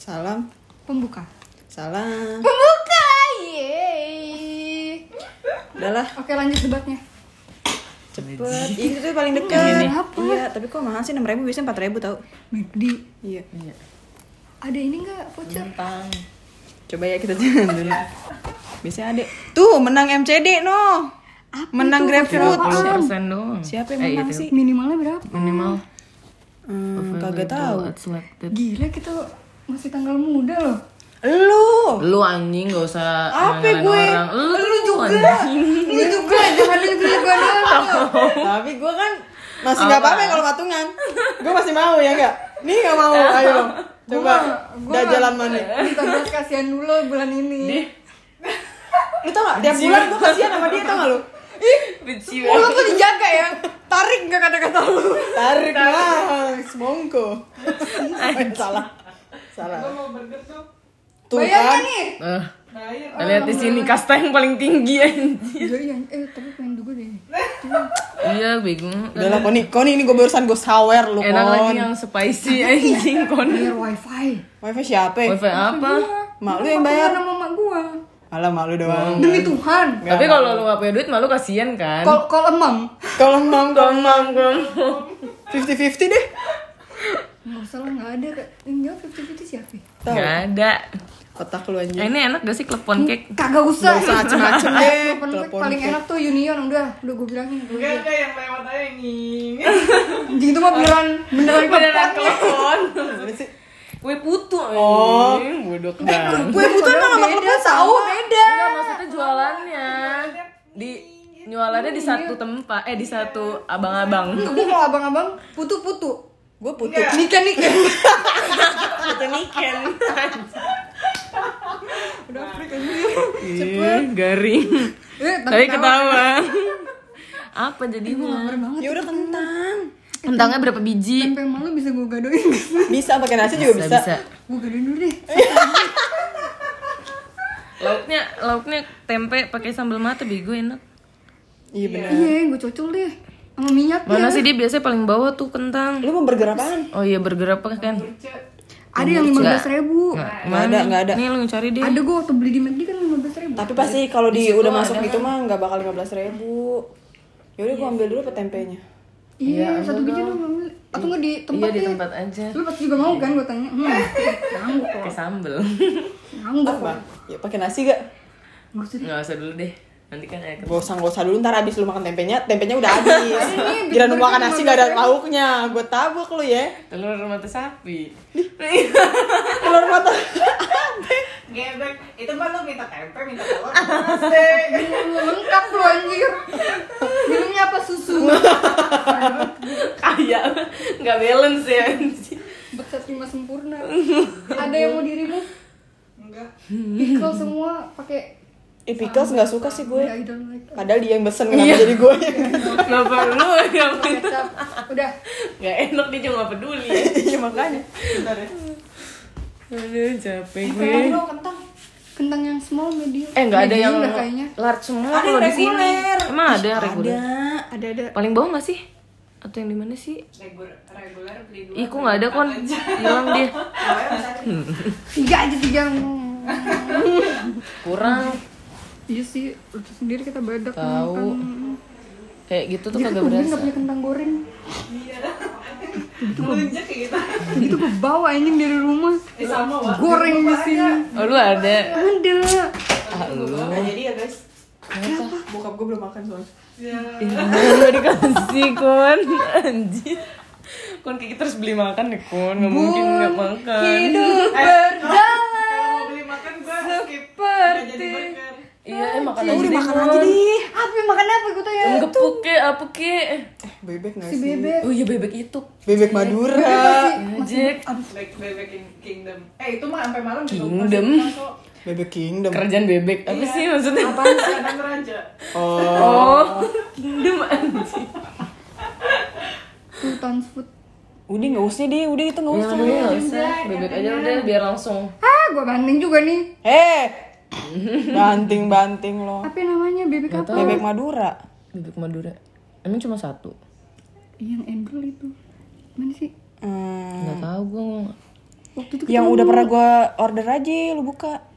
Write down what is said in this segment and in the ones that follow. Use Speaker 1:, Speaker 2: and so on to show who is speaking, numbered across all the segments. Speaker 1: Salam,
Speaker 2: Pembuka.
Speaker 1: salam.
Speaker 2: Pembuka, yeay.
Speaker 1: Udahlah,
Speaker 2: Oke lanjut debatnya.
Speaker 1: cepet. Ih, itu tuh paling
Speaker 2: Ini
Speaker 1: dekat.
Speaker 2: nih. Apa?
Speaker 1: Iya, tapi kok mahal sih 6.000 biasanya 4.000 tau.
Speaker 2: McD.
Speaker 1: Iya.
Speaker 3: Iya.
Speaker 2: Ada ini nggak voucher?
Speaker 3: Tentang
Speaker 1: Coba ya kita jalan dulu. Biasanya ada. Tuh, menang MCD no. menang GrabFood.
Speaker 3: 30 persen Iya, doang.
Speaker 1: Oh,
Speaker 3: Eh, iya,
Speaker 1: Siapa yang menang
Speaker 3: itu.
Speaker 1: sih?
Speaker 2: Minimalnya berapa?
Speaker 3: Minimal.
Speaker 1: Hmm,
Speaker 3: available
Speaker 1: kagak tahu.
Speaker 3: at selected.
Speaker 2: Gila kita masih tanggal muda loh.
Speaker 1: Lu.
Speaker 3: Lu anjing gak usah
Speaker 1: Oh. Apa
Speaker 3: nyalain
Speaker 1: gue?
Speaker 3: orang. Lu,
Speaker 1: Lu juga.
Speaker 3: anjing.
Speaker 2: Lu juga jangan lu juga gua doang.
Speaker 1: Tapi gue kan masih nggak apa-apa ya kalau patungan. Gue masih mau ya enggak? Nih nggak mau. Ayo. Coba.
Speaker 2: gua
Speaker 1: Dah
Speaker 2: mah-
Speaker 1: jalan mana?
Speaker 2: Minta belas kasihan dulu bulan ini.
Speaker 1: Lu tau gak? Tiap bulan gue kasihan sama dia tau gak lu? Ih,
Speaker 3: Benci banget.
Speaker 2: Mulut tuh dijaga ya. Tarik nggak kata-kata lu.
Speaker 1: tarik lah. Semongko. Salah. Salah. Tuh
Speaker 2: Bayangkan
Speaker 1: kan.
Speaker 2: nih.
Speaker 3: Eh, lihat di sini kasta yang paling tinggi anjing.
Speaker 2: Iya yang eh tapi pengen juga deh.
Speaker 3: Iya, bego.
Speaker 1: Udah lah Koni, Koni ini gue barusan gue sawer lu
Speaker 3: Enak lagi
Speaker 1: Kon
Speaker 3: yang spicy anjing kon.
Speaker 2: Bayar wifi.
Speaker 1: Wifi siapa?
Speaker 3: Wifi apa?
Speaker 1: Mak lu yang bayar
Speaker 2: Sama mama gua.
Speaker 1: Alah mak lu doang
Speaker 2: Demi Tuhan.
Speaker 3: Tapi kalau lu gak punya duit malu kasihan kan.
Speaker 2: Call call emam.
Speaker 1: Kalau mam kalau
Speaker 3: Tomang, tomang.
Speaker 1: 50-50 deh
Speaker 2: Nggak usah lah nggak ada. Yang jawab fifty fifty siapa?
Speaker 1: Tahu.
Speaker 3: Gak ada.
Speaker 1: Otak lu
Speaker 3: Eh,
Speaker 1: anjing
Speaker 3: Ini enak gak sih klepon cake?
Speaker 2: Kagak usah.
Speaker 1: Gak usah acem-acem deh
Speaker 2: Telepon gue
Speaker 1: Telepon
Speaker 2: paling
Speaker 1: gue.
Speaker 2: enak tuh Union udah, udah gue bilangin. Gue bilang.
Speaker 3: yang lewat aja yang ini.
Speaker 2: Jadi itu mah beneran beneran
Speaker 3: Beneran
Speaker 2: klepon.
Speaker 3: klepon.
Speaker 1: Gimana sih?
Speaker 3: Kue putu
Speaker 1: Oh.
Speaker 3: anjing, bodoh banget.
Speaker 1: Gue butuh emang sama
Speaker 2: Beda,
Speaker 1: kebun
Speaker 2: tahu
Speaker 1: tahu
Speaker 2: beda.
Speaker 3: Enggak, maksudnya jualannya di jualannya di satu tempat eh di satu abang-abang.
Speaker 2: Gue kalau abang-abang putu-putu.
Speaker 1: Gue putu
Speaker 2: Nikah nikah.
Speaker 3: Kita niken.
Speaker 2: Udah freak aja.
Speaker 3: garing.
Speaker 2: Eh,
Speaker 3: Tapi ketawa. Apa jadinya?
Speaker 2: Lapar banget.
Speaker 1: Ya udah kentang
Speaker 3: Kentangnya berapa biji?
Speaker 2: Tempe malu bisa gue gadoin. gue
Speaker 1: Bisa pakai nasi juga bisa
Speaker 2: gadoin dulu deh.
Speaker 3: Lauknya lauknya tempe pakai sambal mata bego enak.
Speaker 1: Iya bener
Speaker 2: Iya, gue cocol deh. Sama minyak
Speaker 3: Mana
Speaker 2: ya.
Speaker 3: sih dia biasanya paling bawah tuh kentang.
Speaker 1: Lu mau burger apaan?
Speaker 3: Oh iya burger apa kan?
Speaker 2: Ada yang lima belas ribu.
Speaker 1: Nggak ada, nggak ada.
Speaker 3: Nih lu yang cari deh.
Speaker 2: Ada gue waktu beli di McD kan lima belas ribu.
Speaker 1: Tapi pasti kalau di udah masuk gitu mah nggak bakal 15 ribu Yaudah gue ambil dulu petempenya
Speaker 2: Iya, satu biji lu ngambil. Atau nggak di tempat
Speaker 3: Iya di
Speaker 2: ya?
Speaker 3: tempat aja.
Speaker 2: Lu pasti juga mau kan gue tanya. Hmm, nanggung kok.
Speaker 3: Pakai sambal.
Speaker 2: Nanggung kok.
Speaker 1: Bang, ya pakai nasi gak?
Speaker 2: Nggak usah
Speaker 3: Nggak usah dulu deh. Nanti kan ada
Speaker 1: Gak usah, gak usah dulu ntar abis lu makan tempenya, tempenya udah habis
Speaker 2: Ini
Speaker 1: Kira lu
Speaker 2: bikin
Speaker 1: makan
Speaker 2: burger
Speaker 1: nasi
Speaker 2: cuma
Speaker 1: gak ada
Speaker 2: biasa.
Speaker 1: lauknya, gue tabuk lu ya
Speaker 3: telur mata sapi.
Speaker 1: Telur mata
Speaker 4: Gebek, itu mah lu minta tempe, minta telur, nasi.
Speaker 2: Belum lengkap lu anjir Minumnya apa susu?
Speaker 3: Kayak nggak balance ya. anjing.
Speaker 2: Bekas lima sempurna Ada yang mau dirimu?
Speaker 4: Enggak.
Speaker 2: Pickle semua pakai
Speaker 1: Eh pickles gak suka sih
Speaker 2: Udah,
Speaker 1: gue
Speaker 2: I don't like
Speaker 1: Padahal dia yang pesen, kenapa jadi gue
Speaker 3: Kenapa lu yang
Speaker 2: Kecap Udah
Speaker 3: nggak enak dia juga nggak peduli.
Speaker 1: Iya makanya Bentar ya
Speaker 3: Aduh capek gue.
Speaker 2: Kentang dong, kentang Kentang yang small, medium
Speaker 3: Eh nggak ada
Speaker 2: Medium
Speaker 3: yang
Speaker 2: lah kayaknya
Speaker 3: large semua
Speaker 1: Ada
Speaker 3: kalau
Speaker 1: yang
Speaker 3: di sini.
Speaker 1: reguler.
Speaker 3: Emang ada yang reguler.
Speaker 2: Ada, ada
Speaker 3: Paling bawah nggak sih? Atau yang di mana sih?
Speaker 4: Reguler, reguler beli dua.
Speaker 3: Ih, kok nggak ada kon? Hilang dia.
Speaker 2: Tiga aja, tiga
Speaker 3: Kurang.
Speaker 2: Iya sih, itu sendiri kita badak
Speaker 3: Tahu. Kayak gitu tuh
Speaker 2: Jadi
Speaker 3: kagak
Speaker 2: tuh dia
Speaker 3: berasa.
Speaker 2: nggak punya kentang goreng
Speaker 4: Lunjak Iya. kayak gitu.
Speaker 2: Gitu gue bawa anjing dari rumah
Speaker 4: Eh, sama, Wak.
Speaker 2: Goreng di sini
Speaker 3: Oh lu ada.
Speaker 2: Ada
Speaker 3: Ah, lu.
Speaker 4: Nah, jadi ya guys.
Speaker 1: Bokap gue belum makan soalnya
Speaker 4: Ya.
Speaker 3: Gak dikasih kon Anjir Kon kayak kita harus beli makan deh kon Gak mungkin gak makan
Speaker 2: Hidup berjalan
Speaker 4: Kalau Eh, mau beli makan gua skip. Nggak jadi
Speaker 2: seperti
Speaker 4: burger.
Speaker 3: Iya eh makan aja
Speaker 1: Udah
Speaker 3: deh
Speaker 1: makan aja deh
Speaker 2: Apa yang makan apa gue
Speaker 4: ya?
Speaker 2: tanya
Speaker 3: Ngepuk ke apa ke
Speaker 1: Eh, Bebek gak
Speaker 2: Si
Speaker 1: sih?
Speaker 2: bebek
Speaker 3: Oh iya bebek itu
Speaker 1: Bebek Madura
Speaker 3: Jack
Speaker 4: Like bebek King- kingdom. Eh, itu mah sampai malam gitu.
Speaker 3: Kingdom?
Speaker 1: Bebek Kingdom
Speaker 3: Kerjaan bebek Apa sih maksudnya
Speaker 4: Iya. Apaan sih? Anak raja.
Speaker 1: Oh
Speaker 3: Oh Kingdom anjir
Speaker 2: Sultan's food
Speaker 1: Udah gak usah deh, udah itu gak
Speaker 3: Ya
Speaker 1: usah
Speaker 3: udah gak usah Bebek aja udah biar langsung
Speaker 2: Ah gue banding juga nih
Speaker 1: Eh Banting-banting lo
Speaker 2: Apa namanya bebek apa?
Speaker 1: Bebek Madura
Speaker 3: Bebek Madura Emang cuma satu
Speaker 2: Yang endul itu Mana sih?
Speaker 1: Hmm,
Speaker 3: Gak tau gue
Speaker 2: Waktu itu
Speaker 1: Yang udah pernah gue order aja lu buka.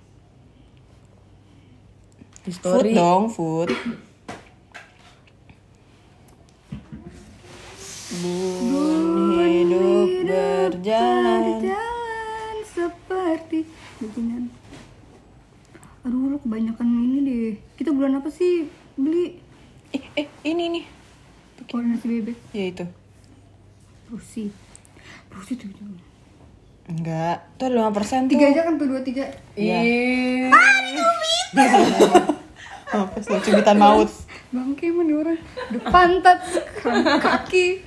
Speaker 3: Di
Speaker 1: Food
Speaker 3: story.
Speaker 1: dong, food. Bun hidup berjalan.
Speaker 2: Jalan seperti bikinan. Aduh, lu kebanyakan ini deh. Kita bulan apa sih beli
Speaker 1: Eh, eh ini nih.
Speaker 2: koordinasi bebek?
Speaker 1: Ya itu.
Speaker 2: Rusi. Rusi tuh. jangan.
Speaker 1: Enggak, itu ada 5 persen tuh.
Speaker 2: Tiga aja kan tuh dua tiga.
Speaker 3: Iya. Ih.
Speaker 1: Apa sih? Cubitan maut.
Speaker 2: Bangke emang nih orang. Udah pantat, sekarang kaki.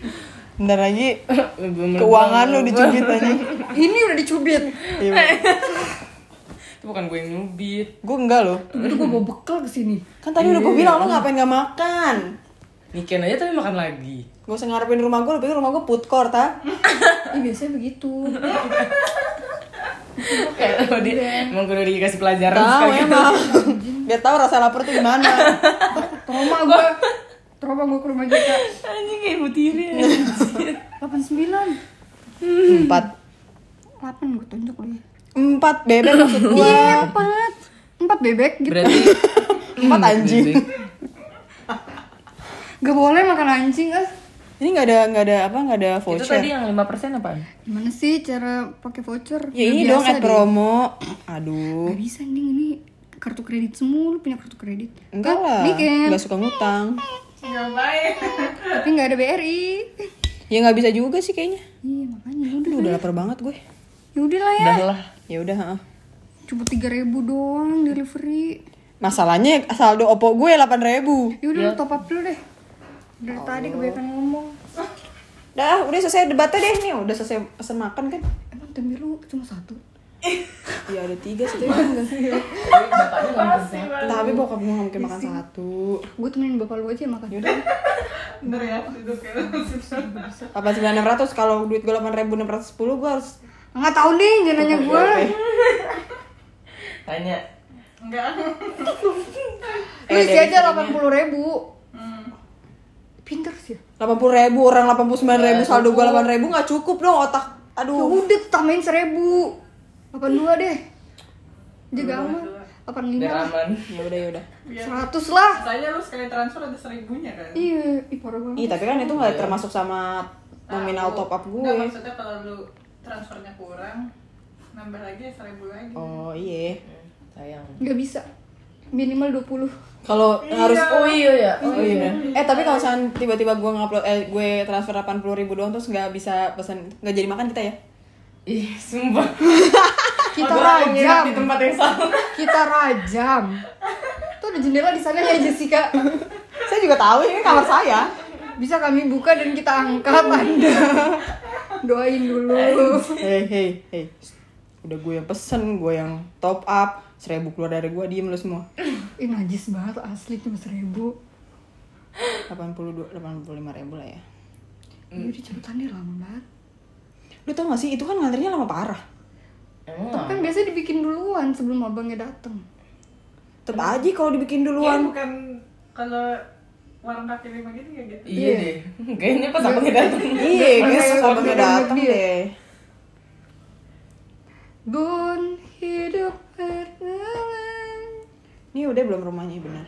Speaker 1: Bentar lagi keuangan lu dicubit Iya. aja.
Speaker 2: Ini udah dicubit.
Speaker 3: Itu bukan gue yang nyubit.
Speaker 1: Gue enggak loh.
Speaker 2: Itu gue bawa bekal ke sini.
Speaker 1: Kan tadi udah gue bilang lu ngapain gak makan.
Speaker 3: Niken aja tapi makan lagi.
Speaker 1: Gak usah ngarepin rumah gue, lu pikir rumah gue food court ha?
Speaker 2: Ih, biasanya begitu.
Speaker 3: Kayak udah emang gue udah dikasih pelajaran
Speaker 1: Tahu
Speaker 3: sekali.
Speaker 1: emang. Biar tahu rasa lapar tuh gimana.
Speaker 2: Trauma gue. Trauma gue ke rumah Jaka.
Speaker 3: Anjing kayak butirin.
Speaker 2: 89.
Speaker 1: Empat.
Speaker 2: 8 gue tunjuk lu ya.
Speaker 1: Empat bebek maksud gue.
Speaker 2: Iya, empat. Empat bebek gitu.
Speaker 3: Berarti
Speaker 1: Empat anjing.
Speaker 2: Gak boleh makan anjing ah.
Speaker 1: Ini nggak ada nggak ada apa nggak ada
Speaker 3: Itu
Speaker 1: voucher.
Speaker 3: tadi yang 5% apaan?
Speaker 2: Gimana sih cara pakai voucher?
Speaker 1: Ya
Speaker 2: Udah
Speaker 1: ini
Speaker 2: biasa
Speaker 1: dong ad
Speaker 2: deh.
Speaker 1: promo. Aduh.
Speaker 2: Gak bisa nih ini kartu kredit semua lu punya kartu kredit.
Speaker 1: Enggak lah.
Speaker 2: Nih Ken,
Speaker 1: Nggak suka ngutang.
Speaker 4: Ngapain?
Speaker 2: tapi gak ada BRI.
Speaker 1: Ya nggak bisa juga sih kayaknya.
Speaker 2: Iya makanya udah.
Speaker 1: Aduh, udah lapar banget gue.
Speaker 2: Ya udah lah ya.
Speaker 3: Udah lah.
Speaker 1: Ya udah. ha.
Speaker 2: Cuma 3000 doang delivery.
Speaker 1: Masalahnya saldo opo gue 8.000
Speaker 2: Ya udah lu top up dulu deh.
Speaker 1: Ya
Speaker 2: Dari tadi kebanyakan ngomong.
Speaker 1: Dah, udah selesai debatnya deh nih. Udah selesai pesan makan kan?
Speaker 2: Emang tembi lu cuma satu?
Speaker 1: Ya ada tiga sih. tapi kan nggak- Tapi bokap gue nggak mungkin makan satu.
Speaker 2: Gue temenin bapak lu aja yang
Speaker 1: Ya
Speaker 2: makan. Yaudah.
Speaker 4: Bener ya, duduk ya.
Speaker 1: 89.600 kalau duit gue 8.610 gue harus
Speaker 2: Nggak tahu nih, jangan nanya gue.
Speaker 3: Tanya.
Speaker 4: Enggak.
Speaker 1: Eh,
Speaker 2: Lu isi aja 80 ribu.
Speaker 1: Hmm.
Speaker 2: Pinter sih.
Speaker 1: delapan puluh ribu orang delapan puluh sembilan ribu saldo gue delapan ribu nggak Iya, cukup dong otak
Speaker 2: Ya
Speaker 1: aduh
Speaker 2: udah tambahin seribu. 82 deh. Jaga aman. 85
Speaker 3: Biar
Speaker 2: lah.
Speaker 3: aman.
Speaker 1: ya udah ya udah
Speaker 2: 100 lah.
Speaker 4: Saya lu sekali transfer ada seribunya kan?
Speaker 2: Iya, ih parah banget.
Speaker 1: ih tapi kan itu nggak termasuk sama nominal top up
Speaker 4: Enggak,
Speaker 1: gue
Speaker 4: maksudnya kalau lu transfernya kurang, nambah lagi ya seribu lagi.
Speaker 1: oh iya
Speaker 3: Sayang.
Speaker 2: Nggak bisa. Minimal 20.
Speaker 1: kalau harus
Speaker 3: Oh iya ya.
Speaker 1: Oh iya. Eh tapi kalau misalkan tiba-tiba gue ngupload eh gue transfer 80 ribu doang terus nggak bisa pesan nggak jadi makan kita ya?
Speaker 3: Ih, sumpah.
Speaker 2: Kita
Speaker 3: Gua nginep di
Speaker 2: rajam.
Speaker 3: tempat yang salah.
Speaker 2: Kita rajam. Tuh ada jendela di sana ya Jessica.
Speaker 1: Saya juga tahu ini kamar saya.
Speaker 2: Bisa kami buka dan kita angkat Anda. Doain dulu.
Speaker 1: Hei hei hei. Udah gue yang pesen, gue yang top up. Seribu keluar dari gue diem lu semua.
Speaker 2: Ih najis banget asli cuma seribu.
Speaker 1: 82 85 ribu lah ya.
Speaker 2: Udah cepetan deh lama banget.
Speaker 1: Lu tau gak sih itu kan ngantrinya lama parah.
Speaker 2: Tapi
Speaker 3: Emang.
Speaker 2: kan biasanya dibikin duluan sebelum abangnya dateng.
Speaker 1: Tetep aja kalau dibikin
Speaker 4: Iya,
Speaker 1: duluan.
Speaker 4: bukan kalau warung kaki lima gitu kayak gitu.
Speaker 3: Iya deh. Kayaknya pas abangnya datang.
Speaker 1: Iya, gue susah
Speaker 2: Makanya
Speaker 1: banget
Speaker 2: orang
Speaker 1: datang
Speaker 2: lebih ya.
Speaker 1: deh.
Speaker 2: Bun hidup berjalan.
Speaker 1: Ini udah belum rumahnya benar.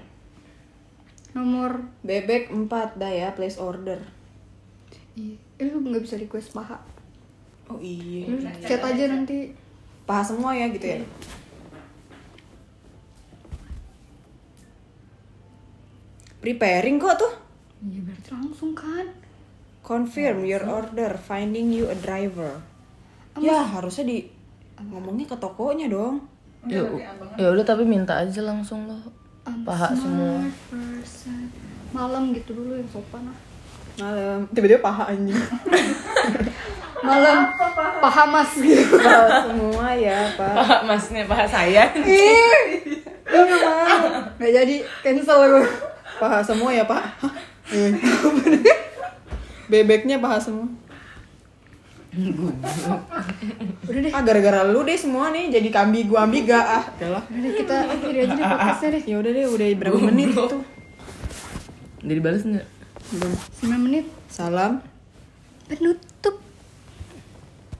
Speaker 2: Nomor
Speaker 1: Bebek 4 dah ya, place order.
Speaker 2: Iya, eh, lu nggak bisa request paha.
Speaker 1: Oh iya.
Speaker 2: Lu chat aja nanti.
Speaker 1: Paha semua ya gitu ya. Preparing kok tuh.
Speaker 2: Iya berarti langsung kan.
Speaker 1: Confirm your order, finding you a driver.
Speaker 2: Iya, Apa
Speaker 1: Ya, harusnya di ngomongnya ke tokonya dong.
Speaker 3: Ya, ya udah tapi minta aja langsung lo.
Speaker 2: I'm
Speaker 3: Paha
Speaker 2: smart
Speaker 3: semua.
Speaker 2: person. Malam gitu dulu yang sopan lah.
Speaker 1: Malam. Tiba-tiba paha anjing.
Speaker 2: Malam paha mas gitu.
Speaker 1: Paha Iya, semua ya, Pak. Iya,
Speaker 3: Paha masnya, paha saya.
Speaker 2: Ih, lu nggak mau. Nggak jadi cancel gue.
Speaker 1: Paha semua ya, Pak. Eh. Bebeknya paha semua.
Speaker 2: Udah deh,
Speaker 1: Ah gara-gara lu deh semua nih jadi kambi gua ambiga ah. Udahlah.
Speaker 2: udah deh kita akhiri aja deh podcastnya deh.
Speaker 1: Ya udah deh udah berapa menit tuh.
Speaker 3: Jadi balas nggak?
Speaker 1: Belum.
Speaker 2: 9 menit.
Speaker 1: Salam.
Speaker 2: Penut.